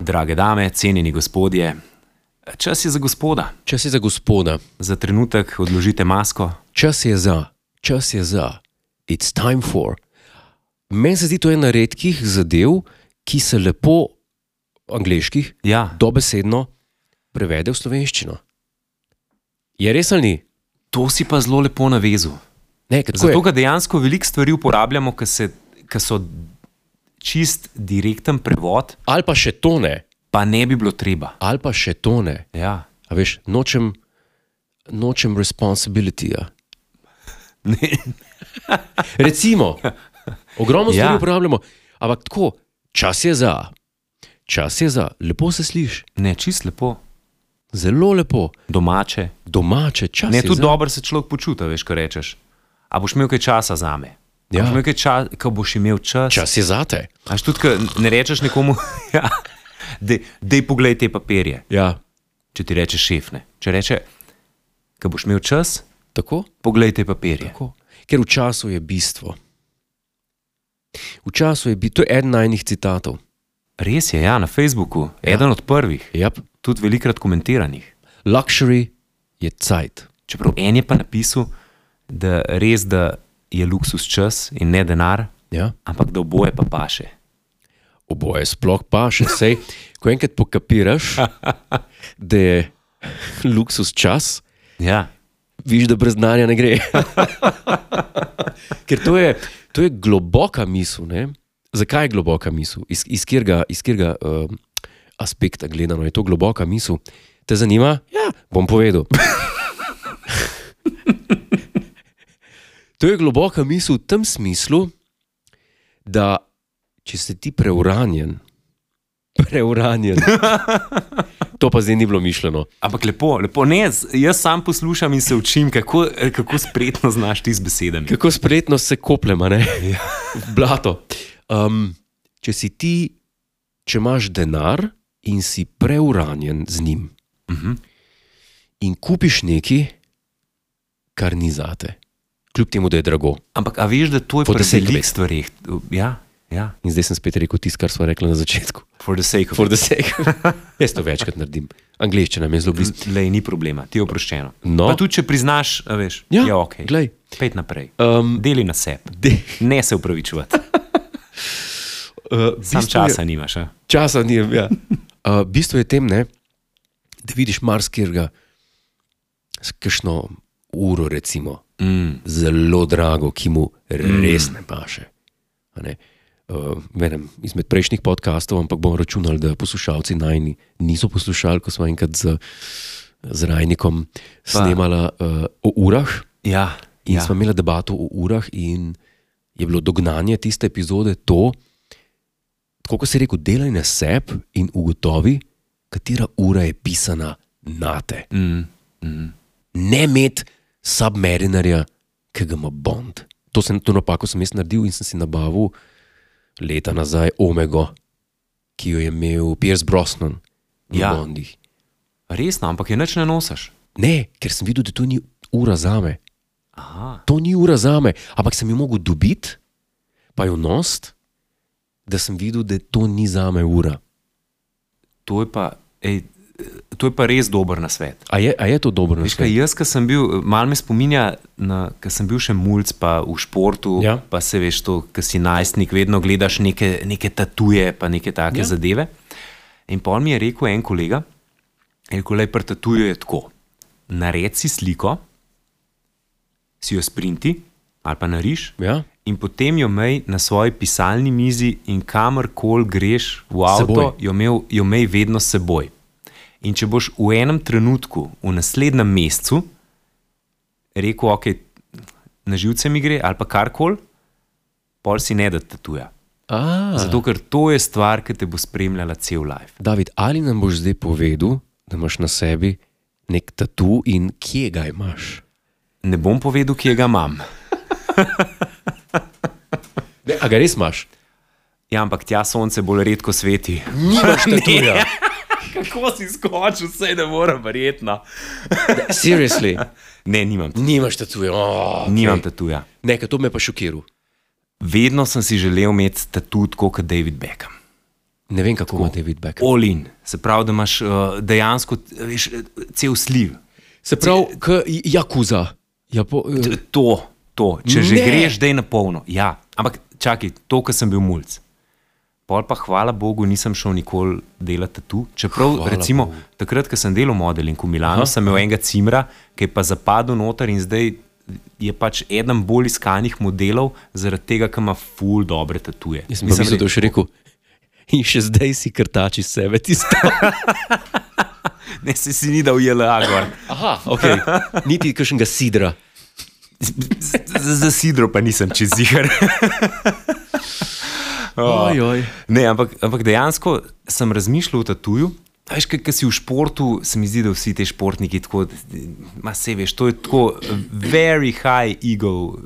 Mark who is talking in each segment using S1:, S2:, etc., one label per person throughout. S1: Drage dame, cenjeni gospodje, čas je za gospoda.
S2: Čas je za gospoda,
S1: Za trenutek odložite masko.
S2: čas je za, čas je za, it's time for. Meni se zdi to ena redkih zadev, ki se lepo, angliških,
S1: Ja,
S2: dobesedno prevede v slovenščino. Je res ali ni?
S1: to si pa zelo lepo navezal.
S2: Ne, ker tako
S1: Zato
S2: je.
S1: ga dejansko veliko stvari uporabljamo, ki se- ki so čist direkten prevod,
S2: ali pa še to ne,
S1: pa ne bi bilo treba.
S2: ali pa še to ne.
S1: Ja.
S2: A veš, nočem, nočem ja. responsibilitija. Recimo, ogromno stvari
S1: Ja.
S2: ja. uporabljamo, ampak tako, čas je za, čas je za, lepo se sliši,
S1: Ne, čist lepo,
S2: zelo lepo,
S1: domače.
S2: Ja, domače, čas
S1: Ne,
S2: je
S1: tudi
S2: za.
S1: dobro se človek počuti, a veš, kaj rečeš. A boš imel kaj časa za me? A
S2: Ja.
S1: Boš imel kaj časa, ko boš imel čas.
S2: Čas je za te.
S1: Až tudi, ko ne rečeš nekomu, ja, dej, dej poglej te papirje,
S2: Ja,
S1: če ti reče šefne. Če reče, ko boš imel čas,
S2: tako?
S1: poglej te papirje.
S2: tako. Ker v času je bistvo. V času je bistvo, to je eden najnih citatov.
S1: Res je, ja, na Facebooku, ja. eden od prvih,
S2: Yep.
S1: tudi velikrat komentiranih.
S2: Luxury je cajt.
S1: Čeprav en je pa napisal, da res da je luksus čas in ne denar,
S2: Ja?
S1: ampak da oboje pa paše.
S2: Oboje sploh pa še sej, ko enkrat pokapiraš, da je luksus čas,
S1: Ja,
S2: viš, da brez znanja ne gre. Ker to je, to je globoka misel. Ne? Zakaj je globoka misel? Iz, iz katerega, iz katerega um, aspekta gledano je to globoka misel? Te zanima? Ja, bom povedal. to je globoka misel v tem smislu, da če si ti preuranjen, preuranjen, to pa zdaj ni bilo mišljeno.
S1: ampak lepo, lepo. Ne, z- jaz sam poslušam in se učim, kako, kako spretno znaš ti z besedami.
S2: Kako spretno se kopljemo, ne?
S1: Ja.
S2: V blato. Um, če si ti, če imaš denar in si preuranjen z njim,
S1: Mhm.
S2: in kupiš nekaj, kar ni zate, kljub temu, da je drago.
S1: Ampak, a veš, da to je
S2: For
S1: pri
S2: the sake of
S1: velikih
S2: it.
S1: stvareh. Ja, ja.
S2: In zdaj sem spet rekel tisto, kar smo rekli na začetku.
S1: For the sake of
S2: For the sake. Jaz to večkrat naredim. Angliščina mi je zelo blizu.
S1: it. Lej, ni problema, ti je oproščeno.
S2: No.
S1: Pa tudi, če priznaš, a veš,
S2: Ja,
S1: je ok.
S2: glej.
S1: Pet naprej.
S2: Um,
S1: Deli na sebe.
S2: de,
S1: Ne se upravičujete.
S2: uh,
S1: Eh, Sam časa nimaš. a?
S2: Časa ni. Ja. Uh, bistvo je tem, ne, da vidiš marsikega, s kakšno uro, recimo,
S1: Mm.
S2: zelo drago, ki mu res ne paše. A Ne? Uh, v enem izmed prejšnjih podkastov, ampak bomo računali, da poslušalci najni niso poslušali, ko smo enkrat z, z Rajnikom snemali uh, o urah.
S1: Ja,
S2: In
S1: ja.
S2: ja. smo imeli debato o urah, in je bilo dognanje tiste epizode to, tako kot si rekel, delaj na sebi in ugotovi, katera ura je pisana na te.
S1: Mm. Mm.
S2: Ne imeti submarinerja, ki ga ima Bond. To sem to napako sem jaz naredil in sem si nabavil leta nazaj Omega, ki jo je imel Pierce Brosnan v
S1: Ja.
S2: ja. Bondih.
S1: Resno, no, ampak je nič ne nosiš.
S2: Ne, ker sem videl, da to ni ura za me.
S1: Aha.
S2: to ni ura za me, ampak sem jo mogel dobiti, pa jo nost, da sem videl, da to ni za me ura.
S1: To je pa, ej, to je pa res dober na svet.
S2: A je, a je to dobro
S1: Veš kaj,
S2: našlo?
S1: jaz, ki sem bil, malo me spominja, ko sem bil še mulj, pa v športu, ja.
S2: Ja.
S1: pa se veš, to, ki si najstnik, vedno gledaš neke, neke tatuje, pa neke take ja.
S2: Ja.
S1: zadeve. In pol mi je rekel en kolega, je rekel, le pri tatuju je tako. Naredi si sliko, si jo sprinti ali pa nariš.
S2: Ja?
S1: In potem jo imej na svoji pisalni mizi, in kamorkoli greš v avto,
S2: Seboj.
S1: jo imel- jo imej vedno s seboj. In če boš v enem trenutku, v naslednjem mesecu, rekel, ok, na živce mi gre ali pa karkoli, pol si ne da tatuja.
S2: A, Zato,
S1: Zato, ker to je stvar, ki te bo spremljala cel life.
S2: David, ali nam boš zdaj povedal, da imaš na sebi nek tatu in kje ga imaš?
S1: Ne bom povedal, kje ga imam.
S2: Ne, a ga res imaš?
S1: Ja, ampak tja sonce bolj redko sveti.
S2: Nimaš tatuja.
S1: Kako si skočil, vse ne morem, no. verjetno.
S2: Seriously,
S1: Ne, nimam.
S2: nimaš tatuja. Oh,
S1: Nimam tatuja.
S2: Ne, ker to me je pa šokiral.
S1: Vedno sem si želel imeti tatu, tako kot David Beckham.
S2: Ne vem, kako ima David Beckham.
S1: Olin, se pravi, da imaš uh, dejansko t- veš, eh, cel sliv.
S2: Se pravi, k Jakuza. Japo,
S1: T- To, to. če že
S2: Ne.
S1: greš, da je na polno. Ja. Ampak čakaj, to, kar sem bil mulj. Pol pa hvala Bogu, nisem šel nikoli delati tu. Čeprav,
S2: Hvala
S1: hvala recimo, Bogu. takrat, ko sem delal modeling v Milano, Aha. sem imel enega cimra, ki je pa zapadel noter in zdaj je pač eden bolj iskanih modelov, zaradi tega, ker ima full dobre tatuje.
S2: jaz sem mislil, da boš rekel. In še zdaj si krtači sebe, tisto.
S1: ne, se si ni dal jela gor.
S2: Aha, ok. Niti kakšnega sidra.
S1: Za sidro pa nisem čez zihar.
S2: Ojoj.
S1: Ne, ampak, ampak dejansko sem razmišljal o tatuju. A Veš, kaj si v športu, se mi zdi, da vsi ti športniki tako, ma se veš, to je tako very high ego uh,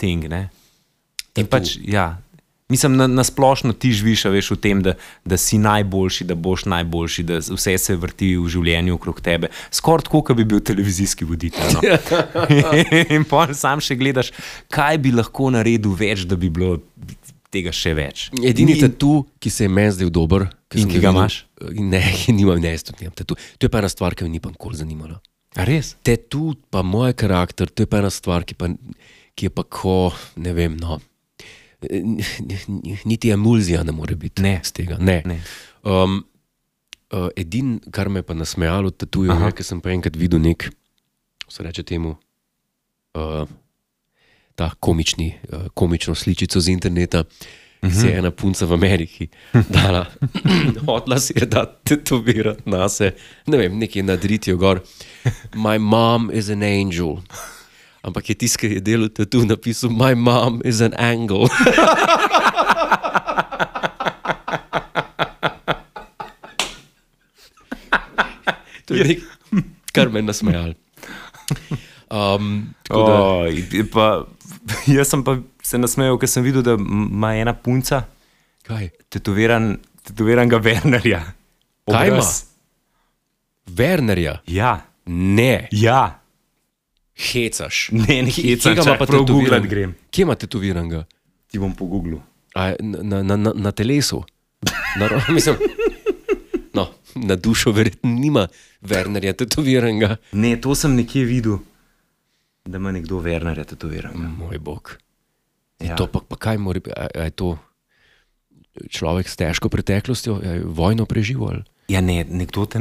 S1: thing. Ne? In pač, ja, mislim, na, na splošno ti živiš, a veš, v tem, da, da si najboljši, da boš najboljši, da vse se vrti v življenju okrog tebe. Skoraj tako, kot bi bil televizijski voditelj.
S2: Ja.
S1: No? In potem sam še gledaš, kaj bi lahko naredil več, da bi bilo tega še več.
S2: Edini
S1: Ni-
S2: tatu, ki se je meni zdel dober,
S1: In
S2: sem
S1: ki ga
S2: videl-
S1: imaš?
S2: Ne, ki nimam, ne, jaz tudi nimam tatu. To je pa ena stvar, ki me ni pa nikoli zanimala.
S1: A res?
S2: Tatu, pa moj karakter, to je pa ena stvar, ki, pa, ki je pa ko, ne vem, no. N- n- Niti emulzija ne more biti
S1: Ne.
S2: z tega. Ne.
S1: Ne.
S2: Um, uh, Edino, kar me je pa nasmejalo, tatujev, je, ker sem pa enkrat videl nek, se reče temu, uh, ta komični, uh, komično sličico z interneta. Uh -huh. Se je ena punca v Ameriki dala, hotla si je da tetovirati na se, ne vem, nekje nadritijo gor. My mom is an angel. Ampak je tisti, ki je delal tatu, napisal: My mom is an angel. to je nekaj, kar me je nasmejalo. Um, tako da-
S1: O, pa, jaz sem pa se nasmejal, ker sem videl, da ima ena punca
S2: Kaj?
S1: tetoviran, tetoviranega Wernerja.
S2: Kaj ima?
S1: Obraz.
S2: Wernerja,
S1: Ja,
S2: ne,
S1: ja,
S2: hecaš.
S1: ne, ne,
S2: Kje
S1: hecam,
S2: ga ima
S1: čak,
S2: pa
S1: prav
S2: tetoviran-
S1: googlat grem.
S2: Kje ima tetoviranga?
S1: Ti bom pogooglil.
S2: A, je na, na, na, na telesu. Na, ro- mislim, no, na dušo verjetno nima Wernerja tetoviranga.
S1: Ne, to sem nekje videl, da ima nekdo Wernerja tetoviranega.
S2: Moj bog. Ja.
S1: Ja.
S2: To pa, pa kaj mora biti? A- a Je to človek s težko preteklostjo, A je vojno preživel?
S1: Ja, ne, nekdo te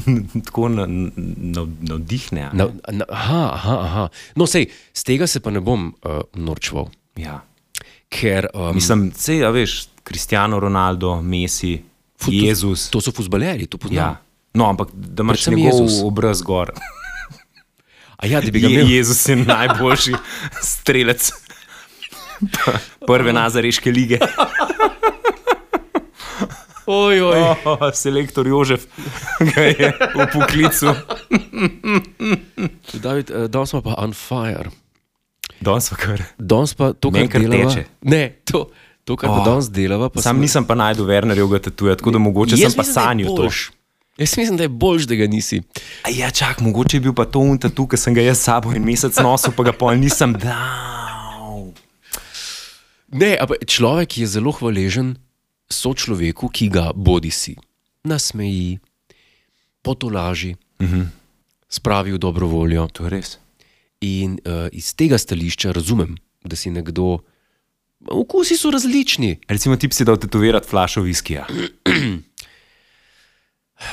S1: tako na- na- navdihne. a ne?
S2: Na, na, aha, aha, aha. No, sej, z tega se pa ne bom uh, norčval.
S1: Ja.
S2: Ker, um,
S1: Mm. Mislim, vse, a veš, Cristiano Ronaldo, Messi, Jezus.
S2: To so fuzbaleri, to poznam.
S1: Ja. No, ampak da imaš
S2: Predvsem
S1: njegov
S2: Jezus.
S1: Jezus. obraz gor.
S2: A ja, da bi ga
S1: Je,
S2: imel.
S1: Jezus je najboljši strelec prve nazareške lige.
S2: Oj, oj.
S1: Oh, selektor Jožef, ki je v poklicu.
S2: David, eh, danes smo pa on fire.
S1: Danes pa kar.
S2: Danes pa to, kar
S1: Meni kar
S2: delava,
S1: teče.
S2: Ne, to, to kar oh.
S1: Oh.
S2: danes delava, pa
S1: Sam
S2: smo-
S1: nisem pa najdel Wernerjevega tatuja, tako da mogoče
S2: Jaz
S1: sem pa
S2: mislim, da je
S1: sanjal to.
S2: boljš. Jaz mislim, da je boljš, da ga nisi.
S1: A Ja, čak, mogoče je bil pa to un tatu, ki sem ga jaz s sabo en mesec nosil, pa ga pa nisem dal.
S2: Ne, ampak človek je zelo hvaležen sočloveku, ki ga bodi si nasmeji, potolaži, uh
S1: Mhm.
S2: -huh. spravi v dobro voljo.
S1: To je res.
S2: In uh, iz tega stališča razumem, da si nekdo. Okusi so različni.
S1: Recimo, ti si dal tetovirati flašo viskija.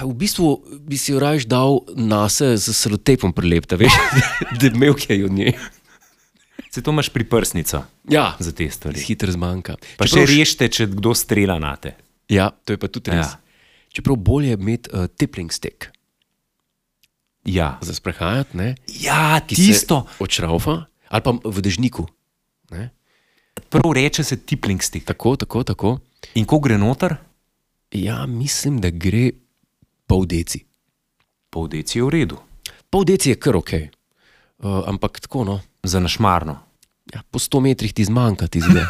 S2: V bistvu bi si jo raje dal na se z selotepom prilepta, veš, da bi imel kaj od nje.
S1: Se to imaš pri prsnico
S2: Ja,
S1: za te stvari.
S2: hitro zmanjka.
S1: Pa
S2: Čeprav
S1: še
S2: š-
S1: rešite, če kdo strela na te.
S2: Ja, to je pa tudi res.
S1: Ja.
S2: Ja. Čeprav bolje je imeti uh, tipling stek
S1: Ja,
S2: za sprehajati, ne?
S1: ja
S2: ki se
S1: tisto,
S2: Odšraufa ali pa v dežniku. Ne?
S1: prav reče se tipling stick.
S2: Tako, tako, tako.
S1: In ko gre noter,
S2: Ja, mislim, da gre pol deci.
S1: pol deci je v redu,
S2: Pol deci je kar ok, uh, ampak tako no.
S1: za našmarno.
S2: Ja, po 100 metrih ti zmanjka, ti zdaj.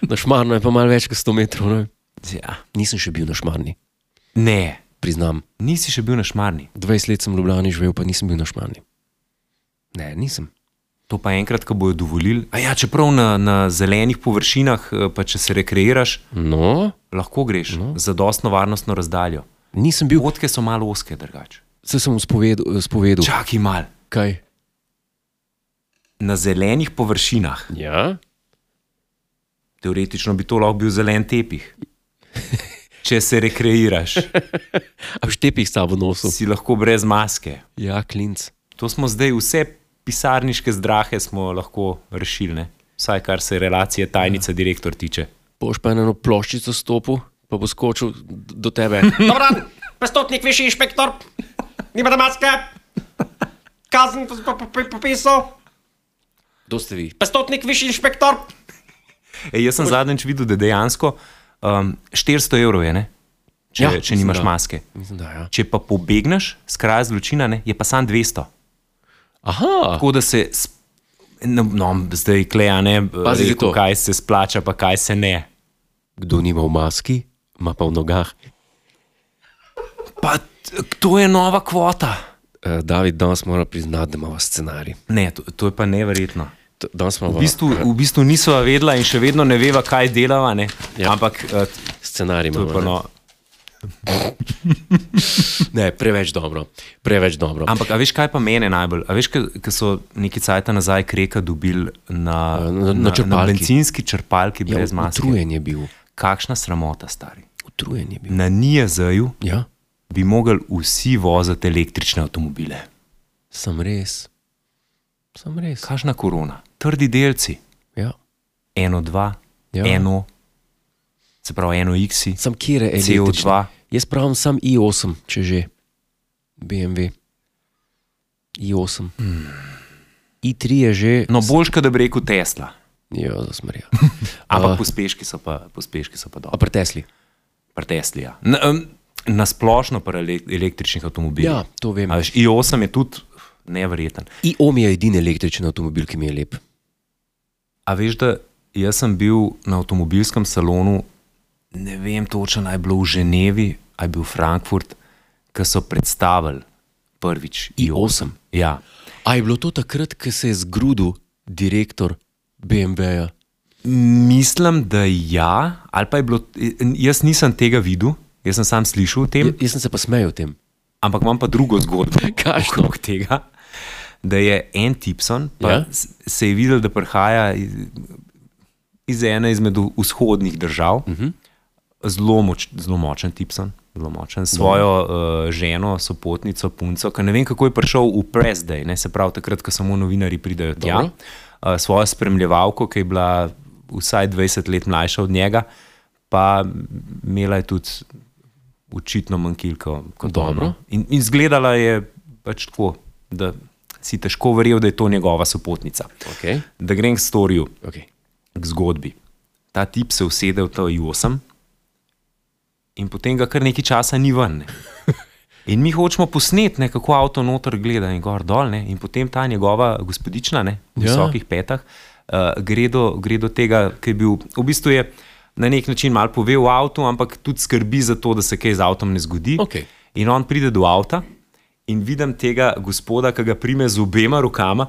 S2: Na šmarnu je pa malo več kot 100 metrov. Ne?
S1: Ja.
S2: Nisem še bil na šmarni,
S1: Ne,
S2: priznam.
S1: nisi še bil našmarni.
S2: 20 let sem v Ljubljani živel, pa nisem bil na šmarni. Ne, nisem.
S1: To pa enkrat, ko bojo dovolili. A ja, čeprav na, na zelenih površinah, eh, pa če se rekreiraš,
S2: No,
S1: lahko greš no. za dostno varnostno razdaljo.
S2: Nisem bil,
S1: Potke so malo oske, drugače.
S2: se sem uspovedal, spovedal.
S1: Čakaj mal.
S2: Kaj?
S1: Na zelenih površinah,
S2: Ja,
S1: teoretično bi to lahko bil zelen tepih. Če se rekreiraš,
S2: a štepih sabo nosil.
S1: si lahko brez maske.
S2: Ja, klinc.
S1: To smo zdaj, vse pisarniške zdrahe smo lahko rešili, ne? vsaj kar se relacije tajnica
S2: Ja.
S1: direktor tiče.
S2: Boš pa na eno ploščico stopil, pa bo skočil do tebe.
S3: Dobar dan, prestopnik, višji inšpektor, nimate maske, kazen po- po- po- popisal,
S2: Kdo ste vi?
S3: prestopnik, višji inšpektor.
S1: E, jaz sem zadnjič videl, da dejansko um, 400 evrov je, ne? če,
S2: Ja,
S1: ja, če
S2: mislim,
S1: nimaš
S2: da.
S1: da. maske.
S2: Mislim, da, ja.
S1: Če pa pobegneš z kraja zločina, ne, je pa sam 200.
S2: Aha,
S1: Tako da se, s- no, no zdaj kleja, ne,
S2: Pazi za to.
S1: rekel, kaj se splača, pa kaj se ne.
S2: kdo nima v maski, ima pa v nogah.
S1: Pa t- to je nova kvota.
S2: Uh, David, danes mora priznati, da imamo scenarij.
S1: Ne, to, to je pa neverjetno.
S2: T- Danes imamo
S1: V bistvu, v bistvu nisva vedela in še vedno ne veva, kaj delava. Ne?
S2: Ja.
S1: Ja. Ampak eh,
S2: scenarij.
S1: to je pa
S2: Imamo,
S1: no.
S2: ne? ne, preveč dobro. Preveč dobro.
S1: Ampak, a veš, kaj pa mene najbolj? A veš, ki so neki cajt nazaj kreka dobili na,
S2: Ja, na- na črpalki.
S1: bencinski črpalki
S2: ja,
S1: brez maske.
S2: utrujen je bil.
S1: Kakšna sramota, stari.
S2: Utrujen je bil.
S1: Na NIEZ-ju
S2: Ja,
S1: bi mogli vsi voziti električne avtomobile.
S2: sem res. Sem res.
S1: Kakšna korona, trdi delci,
S2: Ja.
S1: eno, dva,
S2: Ja.
S1: ja. eno, se pravi, eno X,
S2: Sam kjer je
S1: CO2.
S2: električni? Jaz pravim sam i8, če že. BMW. i8. Hmm. i3 je že.
S1: no boljš, kot da bi rekel Tesla.
S2: Ja, zasmerja.
S1: Ampak
S2: A-
S1: uh. pospeški so pa, pospeški so pa
S2: A
S1: dobri.
S2: pri Tesli.
S1: Pri Tesli. Ja. Na, um, na splošno pri ele- električnih avtomobilih.
S2: Ja, to vem.
S1: A veš, I8 je tudi neverjeten.
S2: i8 je edini električen avtomobil, ki mi je lep.
S1: A veš, da jaz sem bil na avtomobilskem salonu, ne vem točno, ali je bilo v Ženevi ali je bil Frankfurt, ki so predstavili prvič
S2: i8.
S1: Ja.
S2: A je bilo to takrat, ko se je zgrudil direktor BMW-ja?
S1: Mislim, da ja, ali pa je bilo, jaz nisem tega videl, jaz sem sam slišal o tem.
S2: Jaz sem se pa smejal tem.
S1: Ampak imam pa drugo zgodbo,
S2: Kakšno?
S1: okrog tega. Da je en Tipson, pa
S2: Ja?
S1: ja? se je videl, da prihaja iz, iz ene izmed v- vzhodnih držav, uh
S2: Mhm.
S1: -huh. zelo, moč, zelo močen Tipson, zelo močen. S svojo uh, ženo, sopotnico, punco, ki ne vem, kako je prišel v press day, ne, se pravi takrat, ko samo novinari pridejo tja,
S2: Dobro.
S1: uh, svojo spremljevalko, ki je bila vsaj 20 let mlajša od njega, pa imela je tudi očitno mankilko kot
S2: Dobro.
S1: ona. In, in izgledala je pač tako, da si težko verjel, da je to njegova sopotnica.
S2: Okay.
S1: Da grem k storju,
S2: Okay.
S1: k zgodbi. Ta tip se usede v ta I8 in potem ga kar nekaj časa ni ven. Ne. In mi hočemo posneti, ne, kako avto noter gleda in gor dol. Ne. In potem ta njegova gospodična, ne, v
S2: Ja.
S1: ja. visokih petah, uh, gre, do, gre do tega, ki je bil. V bistvu je na nek način malo pove v avtu, ampak tudi skrbi za to, da se kaj z avtom ne zgodi.
S2: Okej.
S1: In on pride do avta in vidim tega gospoda, ki ga prime z obema rokama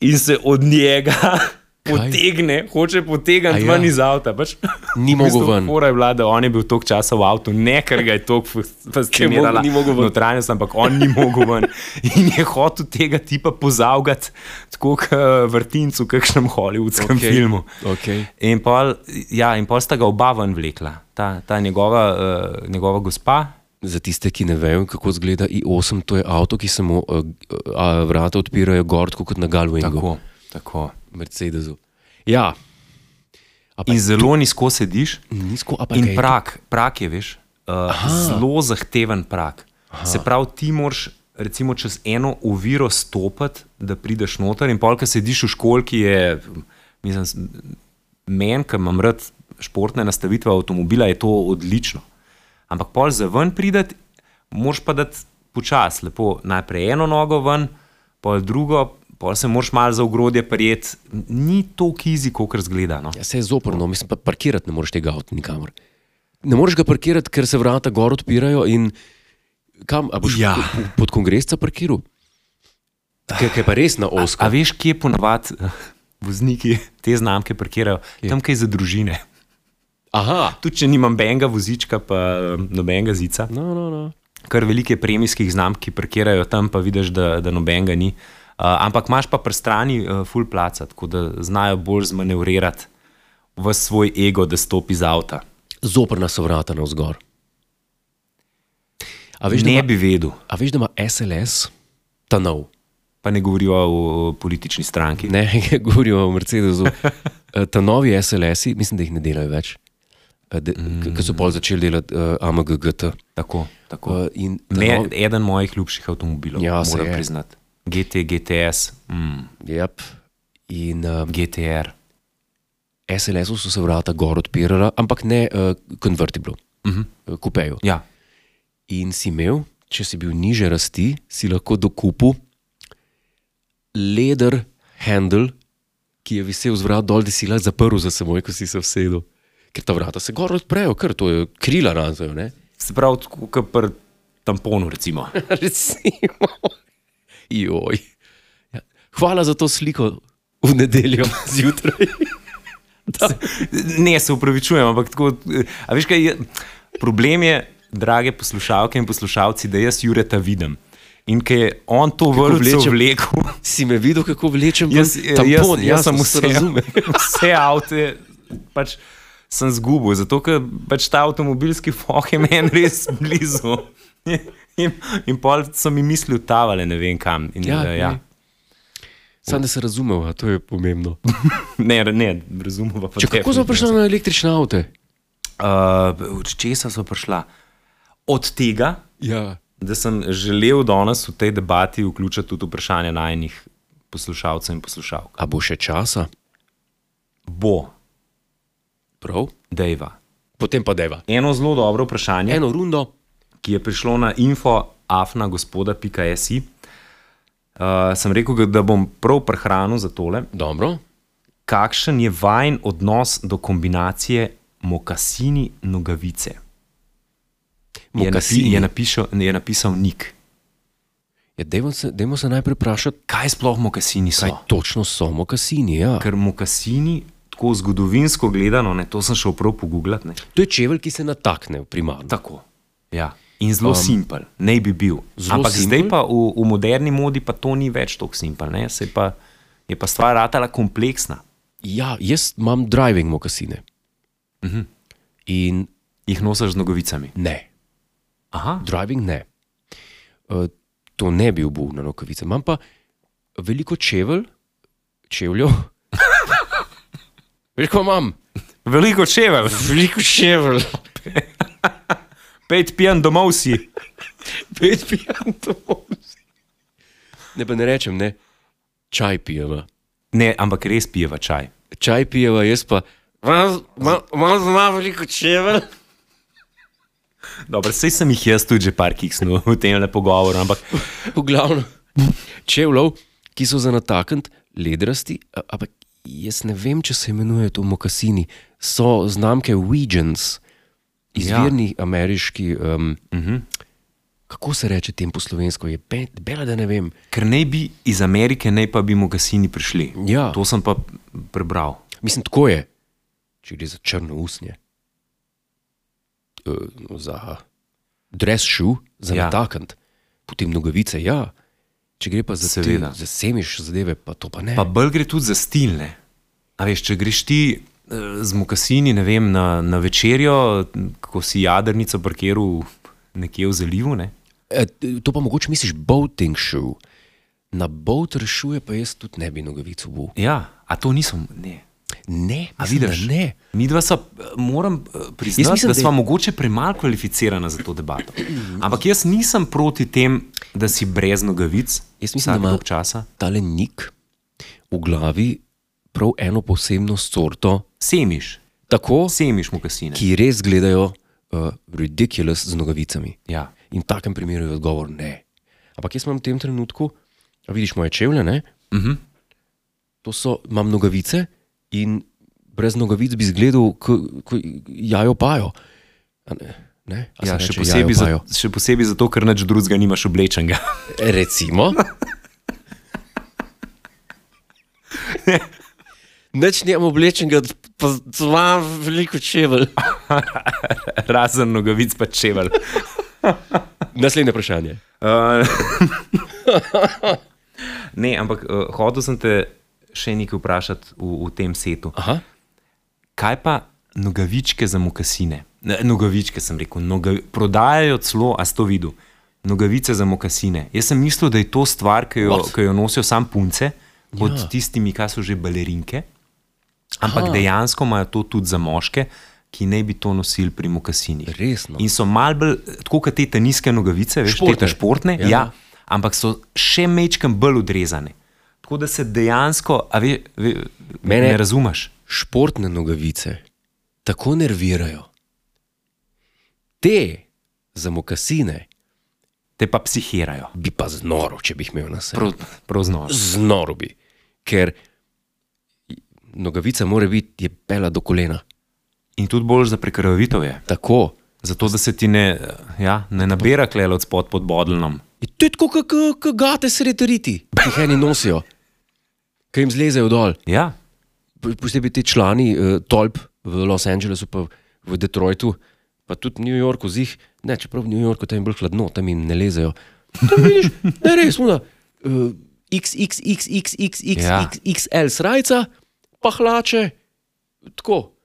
S1: in se od njega potegne, hoče
S2: A
S1: potegniti
S2: ja.
S1: ja. ven iz avta. Pač.
S2: Ni
S1: V bistvu
S2: mogel ven.
S1: fora je bila, da on je bil toliko časa v avtu, ne ker ga je toliko fascinirala
S2: ni mogel ven.
S1: notranjost, ampak on ni mogel ven. In je hotel tega tipa pozavgati, tako kot vrtincu, v kakšnem hollywoodskem
S2: Okej,
S1: okay. filmu.
S2: okej.
S1: In pol, ja, in pol sta ga oba ven vlekla, ta, ta njegova, uh, njegova gospa.
S2: Za tiste, ki ne vejo, kako izgleda i8, to je avto, ki se mu uh, uh, vrata odpirajo gor, tako kot na Galwingu,
S1: Tako, tako.
S2: Mercedesu. Ja,
S1: In zelo nizko sediš,
S2: nizko, a pa
S1: In
S2: kaj-
S1: prak, prak je, veš, uh, zelo zahteven prak. Aha. Se pravi, ti moraš recimo čez eno oviro stopiti, da prideš noter in polka sediš v školki, je, mislim, s- meni, ki imam rad športne nastavitve avtomobila, je to odlično. Ampak pol za ven prideti, moraš pa dati počasi, lepo najprej eno nogo ven, pol drugo, pol se moraš malo za ogrodje prijeti. Ni to kizi, kot razgleda. No?
S2: Ja, se je zoprno, mislim, pa parkirati ne moreš tega avta nikamor. Ne moreš ga parkirati, ker se vrata gor odpirajo in kam? A boš
S1: Ja.
S2: pod- pod kongresca parkiral? Ker ker je pa res na osko.
S1: A veš, kje eh, ponavadi vozniki te znamke parkirajo? Kje? Tam, kaj za družine.
S2: Aha,
S1: Tudi če nimam benga vozička, pa um, nobenega zica.
S2: no, no, no.
S1: Kar velike premijskih znamk, ki parkirajo tam, pa vidiš, da, da nobenega ni. Uh, ampak imaš pa pri strani uh, full placa, tako da znajo bolj zmanevrirati v svoj ego, da stopi iz avta.
S2: zoprna so vrata na vzgor. A veš, da
S1: ne
S2: ima,
S1: bi vedel,
S2: a veš, da ima SLS ta nov?
S1: pa ne govorijo o politični stranki.
S2: Ne, govorimo o Mercedesu. Eh, Ta novi SLS-i, mislim, da jih ne delajo več, Eh, de- k- ker so pol začeli delati uh, AMGGT.
S1: Tako, tako.
S2: Uh, in ta
S1: Me,
S2: novi-
S1: eden mojih ljubših avtomobilov,
S2: Ja, se
S1: moram
S2: je.
S1: priznati. GT, GTS, mm,
S2: Yep. In um,
S1: GTR.
S2: SLS-u so se vrata gor odpirala, ampak ne uh, konvertiblu, uh -huh. kupeju.
S1: Ja,
S2: In si imel, če si bil niže rasti, si lahko dokupil leder handle, ki je visel z vrat dol, da si lahko zaprl za seboj, ko si se usedel. Ker ta vrata se gor odprejo, ker to je krila razejo. ne?
S1: se pravi, tako kot pri tamponu, recimo.
S2: Recimo. Joj. Ja. Hvala za to sliko v nedeljo zjutraj.
S1: Ne, se upravičujem, ampak tako. eh, A veš kaj, je- problem je, drage poslušalke in poslušalci, da jaz Jureta vidim. In ker je on to vrvleče
S2: vleče-
S1: vlekel,
S2: Si me videl, kako vlečem
S1: jaz,
S2: ven tampon? Ja,
S1: jaz, jaz sem
S2: se
S1: vse,
S2: razumel.
S1: vse avte pač sem zgubil, zato ker pač ta avtomobilski foh je meni res blizu. In, in pol sem jim mislil, tavale ne vem kam. In,
S2: Ja,
S1: ja, ja.
S2: Sam da se razumel, a to je pomembno.
S1: Ne, ne, razumem pa.
S2: Če kako smo prišli na električne avte?
S1: Uh, od česa so prišla? Od tega,
S2: Ja.
S1: da sem želel danes v tej debati vključiti tudi vprašanje najnih poslušalcev in poslušalk.
S2: A bo še časa?
S1: Bo,
S2: Prav.
S1: Dejva.
S2: Potem pa deva.
S1: Eno zelo dobro vprašanje.
S2: Eno rundo,
S1: ki je prišlo na infoafnagospoda.si. Uh, sem rekel, da bom prav prehranil za tole.
S2: dobro.
S1: Kakšen je vajen odnos do kombinacije mokasini nogavice? Je, napi
S2: Mokasini.
S1: je, napišel, je napisal Nik.
S2: Ja, dajmo, se, dajmo se najprej vprašati,
S1: Kaj sploh mokasini so?
S2: kaj
S1: Kaj?
S2: točno so mokasini. Ja.
S1: Ker mokasini, tako zgodovinsko gledano, ne, to sem šel prav pogooglati. ne.
S2: To je čevelj, ki se natakne, primarno.
S1: Tako. Ja. In zelo um, simpel, naj bi bil.
S2: zelo
S1: Ampak
S2: simpel?
S1: simple? zdaj pa v, v moderni modi pa to ni več tako simpel, ne? se pa je pa stvar ratala kompleksna.
S2: Ja, jaz imam driving mokasine. Uh -huh. In
S1: Jih nosiš z nogovicami.
S2: ne,
S1: Aha,
S2: driving ne. Uh, to ne bi bil na rokavice. Imam pa veliko čevelj, čevljev. Veš, ko imam?
S1: veliko čevelj,
S2: Veliko čevelj.
S1: pet pijan domov si.
S2: Pet pijem to. Ne pa ne rečem, ne. Čaj pijeva.
S1: Ne, ampak res pijeva čaj.
S2: Čaj pijeva, jaz pa. Imam zelo veliko čevelj.
S1: Dobro, sej sem jih jaz tudi že par kiksnil v tem pogovoru, ampak
S2: V glavnem, čevljev, ki so za natakant, ledrasti, a- ampak jaz ne vem, če se imenujejo to mokasini, so znamke Weegens, izvirni ja. ameriški. Um, uh -huh. Kako se reče tem po slovensko, je be- bela, da ne vem.
S1: ker naj bi iz Amerike, naj pa bi mogasini prišli.
S2: Ja.
S1: To sem pa prebral.
S2: Mislim, tako je, če gre za črno usnje, uh, za dress shoe, za ja.
S1: Ja.
S2: natakant, potem nogavice, ja. Če gre pa za, te,
S1: Seveda.
S2: za semiš zadeve, pa to pa ne.
S1: Pa bolj gre tudi za stilne. A veš, če greš ti eh, z mokasini ne vem, na, na večerjo, ko si jadrnico parkiral nekje v zalivu, ne?
S2: E, to pa mogoče misliš boating shoe. Na boater shoe je pa jaz tudi ne bi nogavic obu.
S1: ja, a to nisem. Ne.
S2: Ne,
S1: A
S2: mislim, da
S1: vidiš?
S2: Ne.
S1: Mi dva sta, eh, moram eh, priznati,
S2: Jaz
S1: mislim,
S2: mislim,
S1: da
S2: da
S1: smo
S2: je-
S1: mogoče premalo kvalificirana za to debato. Ampak jaz nisem proti tem, da si brez nogavic,
S2: Jaz mislim, da
S1: vsak
S2: ima-
S1: dolg časa.
S2: Tale nik v glavi prav eno posebno sorto,
S1: Semiš,
S2: tako,
S1: semiš mokasine.
S2: ki res gledajo uh, ridiculous z nogavicami.
S1: Ja.
S2: In v takem primeru je odgovor ne. Ampak jaz imam v tem trenutku, a vidiš moje čevlje, ne? Uh
S1: Mhm.
S2: To so, imam nogavice in brez nogavic bi izgledal, kot jajo pajo. A Ne, ne? A se
S1: Ja,
S2: reče
S1: še,
S2: jajo
S1: posebej za,
S2: pajo?
S1: še posebej zato, ker nič drugega nimaš oblečenega.
S2: Recimo. Neč ne imam oblečenega od Zva veliko čevelj.
S1: Razen nogavic pa čevelj.
S2: Naslednje vprašanje.
S1: Uh, ne, ampak uh, hotel sem te še nekaj vprašati v, v tem setu.
S2: Aha.
S1: Kaj pa nogavičke za mokasine? Ne, nogavičke sem rekel, noga, prodajajo celo, a si to videl. Nogavice za mokasine. Jaz sem mislil, da je to stvar, ki jo,
S2: What?
S1: ki jo nosijo sam punce, pod
S2: Ja.
S1: ja. tistimi, kaj so že balerinke. Ampak Aha.
S2: Aha.
S1: dejansko imajo to tudi za moške, ki ne bi to nosili pri mokasinih.
S2: Resno?
S1: In so mal bolj, tako kot te teniske nogavice, veš,
S2: Športne.
S1: športne. te športne,
S2: Ja.
S1: ja. ja, ampak so še mečkam bolj odrezane. Tako da se dejansko, a ve, ve,
S2: Mene-
S1: Mene... ne razumeš.
S2: Športne nogavice tako nervirajo. Te za mokasine
S1: te pa psihirajo.
S2: bi pa znoro, če bi jih imel na sebi.
S1: Prav, prav znoro.
S2: Znoro bi, ker nogavica mora biti je pela do kolena.
S1: In tudi bolj za prekrvavitev je.
S2: Tako.
S1: Zato, da se ti ne, ja, ne nabira klele od spod pod bodlom.
S2: Je to je tako, kot gate sreteriti, ki jih eni nosijo, ki jim zlezejo dol.
S1: Ja,
S2: Po- Posebej ti člani uh, tolp v Los Angelesu, pa v Detroitu, pa tudi v New Yorku, zih, ne, čeprav v New Yorku tam je bolj hladno, tam jim ne lezejo. Tam vidiš, ne res, muna, uh,
S1: Ja.
S2: XXXXXXXL srajca, pa hlače, tako,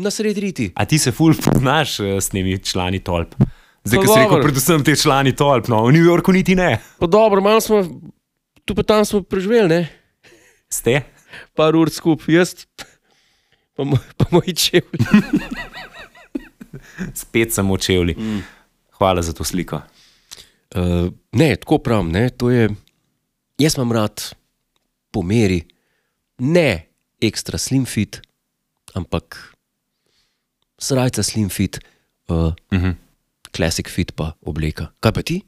S2: na sred riti.
S1: a ti se ful poznaš eh, s temi člani tolp. Zdaj,
S2: Pa
S1: ko si rekel,
S2: dobro.
S1: predvsem te člani tolp, no v New Yorku niti ne.
S2: Pa dobro, malo smo, tu pa tam smo preživeli, ne?
S1: Ste?
S2: par ur skupaj, jaz, pa, moj- pa moji čevlji.
S1: Spet samo čevli. Mm. Hvala za to sliko.
S2: Uh, ne, tako pravim, ne, to je. Jaz imam rad po meri, ne ekstra slim fit, ampak srajca slim fit, uh,
S1: Uh -huh.
S2: classic fit pa obleka. Kaj pa ti?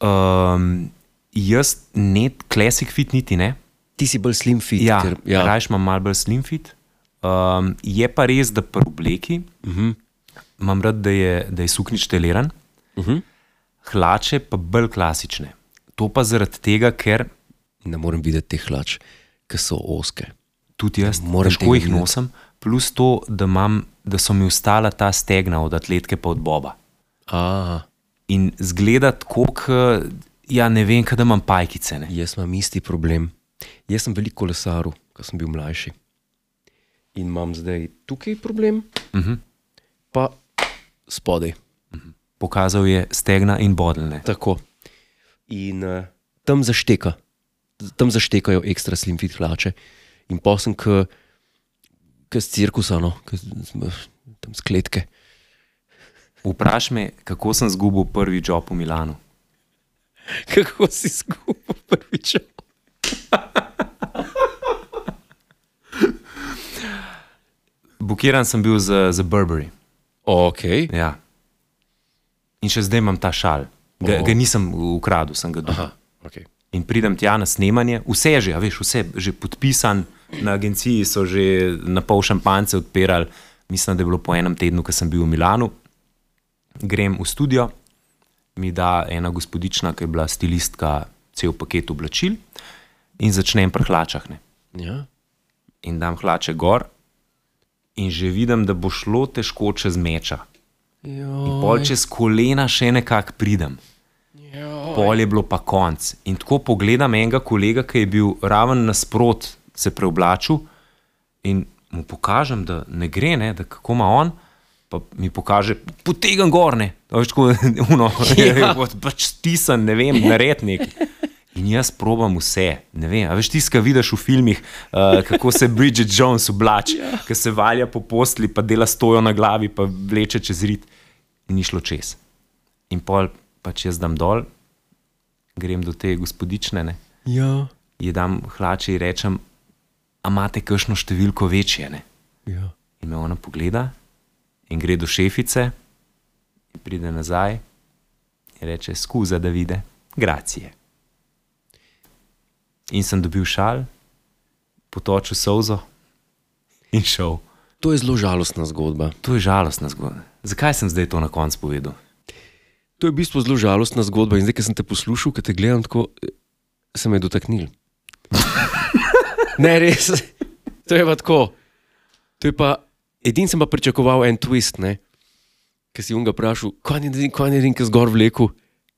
S1: um, jaz ne, klasik fit niti ne.
S2: Ti si bolj slim fit.
S1: Ja,
S2: ker,
S1: ja.
S2: ja.
S1: Rajš imam malo bolj slim fit. Um, je pa res, da pri obleki uh
S2: Mhm.
S1: -huh. imam rad, da je, da je suknič teliran,
S2: Uh -huh.
S1: hlače pa bolj klasične. To pa zaradi tega, ker
S2: Ne morem videti teh hlač, ki so oske.
S1: tudi jaz
S2: Ja, Moram
S1: težko
S2: tega
S1: jih
S2: videti.
S1: nosim, plus to, da, imam, da so mi ostala ta stegna od atletike pa od boba.
S2: A,
S1: In zgleda tako, kot ja, ne vem, kaj da imam pajkice. Ne?
S2: Jaz imam isti problem. Jaz sem veliko kolesaril, ko sem bil mlajši. In imam zdaj tukaj problem, uh -huh. pa spodaj.
S1: Pokazal je stegna in bodlne.
S2: Tako. In uh, tam zašteka, tam zaštekajo ekstra slimfit hlače. In posem, ki s cirkusa, no, ke s- s- tam s kletke.
S1: Vprašaj me, kako sem zgubil prvi job v Milanu.
S2: Kako si izgubil prvič?
S1: Bukiran sem bil za, za Burberry.
S2: Ok.
S1: Ja. In še zdaj imam ta šal. Ga,
S2: O.
S1: ga nisem ukradel, sem ga dobil.
S2: Aha, okay.
S1: In pridem tja na snemanje, vse je že, a veš, vse je že podpisan, na agenciji so že na pol šampance odpirali. Mislim, da je bilo po enem tednu, ko sem bil v Milanu. Grem v studio, mi da ena gospodična, ki je bila stilistka, cel paket oblačil in začnem pri hlačah. Ne
S2: Ja.
S1: in dam hlače gor, in že vidim, da bo šlo težko čez meča.
S2: Jo,
S1: Pol čez kolena še nekako pridem.
S2: Ja.
S1: Pol je bilo pa konc. In tako pogledam enega kolega, ki je bil raven nasprot, se preoblačil in mu pokažem, da ne gre, ne, da kako ima on. Pa mi pokaže, potegam gorne, tako uno, ja. pač stisen, ne vem, narednik. In jaz probam vse, ne vem, a veš tisto, kar vidiš v filmih, uh, kako se Bridget Jones oblači, ja. ki se valja po posli, pa dela stojo na glavi, pa vleče čez rit. In ni šlo čez. In pol pač jaz dam dol, grem do te gospodične, ne,
S2: ja.
S1: ji dam hlače in rečem, a imate kakšno številko večje, ne?
S2: ja.
S1: In me ona pogleda in gre do šefice, in pride nazaj in reče: Skuza, da vide, gracije. In sem dobil šal, potočil solzo in šel.
S2: To je zelo žalostna zgodba.
S1: To je žalostna zgodba. Zakaj sem zdaj to na koncu povedal?
S2: To je v bistvu zelo žalostna zgodba in zdaj, ki sem te poslušal, ki te gledam, tako eh, se me je dotaknil. ne, res. To je pa tako. To je pa, edin sem pa pričakoval en twist, ne? Ker si unga vprašal, kaj je edin, kaj je edin, ki zgor vleku.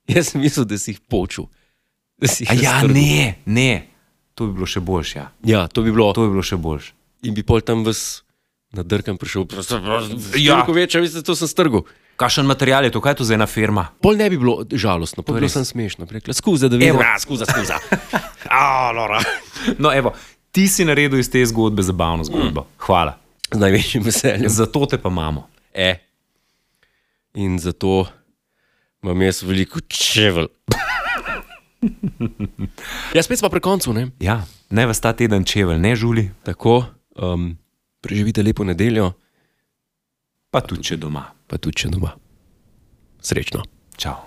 S2: Jaz sem mislil, da si jih počul. Da si jih
S1: A ja,
S2: raztrgal.
S1: ne, ne, to bi bilo še boljše. Ja.
S2: Ja, to bi bilo. To...
S1: To bi bilo še boljše.
S2: In bi pol tam vas nadrkam prišel.
S1: Ja.
S2: Ja, več, a veste, to sem strgal.
S1: Kakšen material je to, kaj je to za ena firma?
S2: Pol ne bi bilo žalostno, pol
S1: To
S2: bi
S1: je
S2: bilo
S1: res.
S2: sem smešno. Bi Rekla, skuza, da vidim.
S1: Evo.
S2: skuza, skuza. A, Lora.
S1: No, evo, ti si naredil iz te zgodbe zabavno zgodbo. Hvala.
S2: Z največjim veseljem.
S1: Zato te pa imamo.
S2: E. In zato imam jaz veliko čevelj. ja, spet smo pri koncu, ne?
S1: Ja, naj vas ta teden čevelj ne žuli,
S2: Tako, um, preživite lepo nedeljo,
S1: pa tudi če doma.
S2: pa tudi če doma. Srečno.
S1: Čau.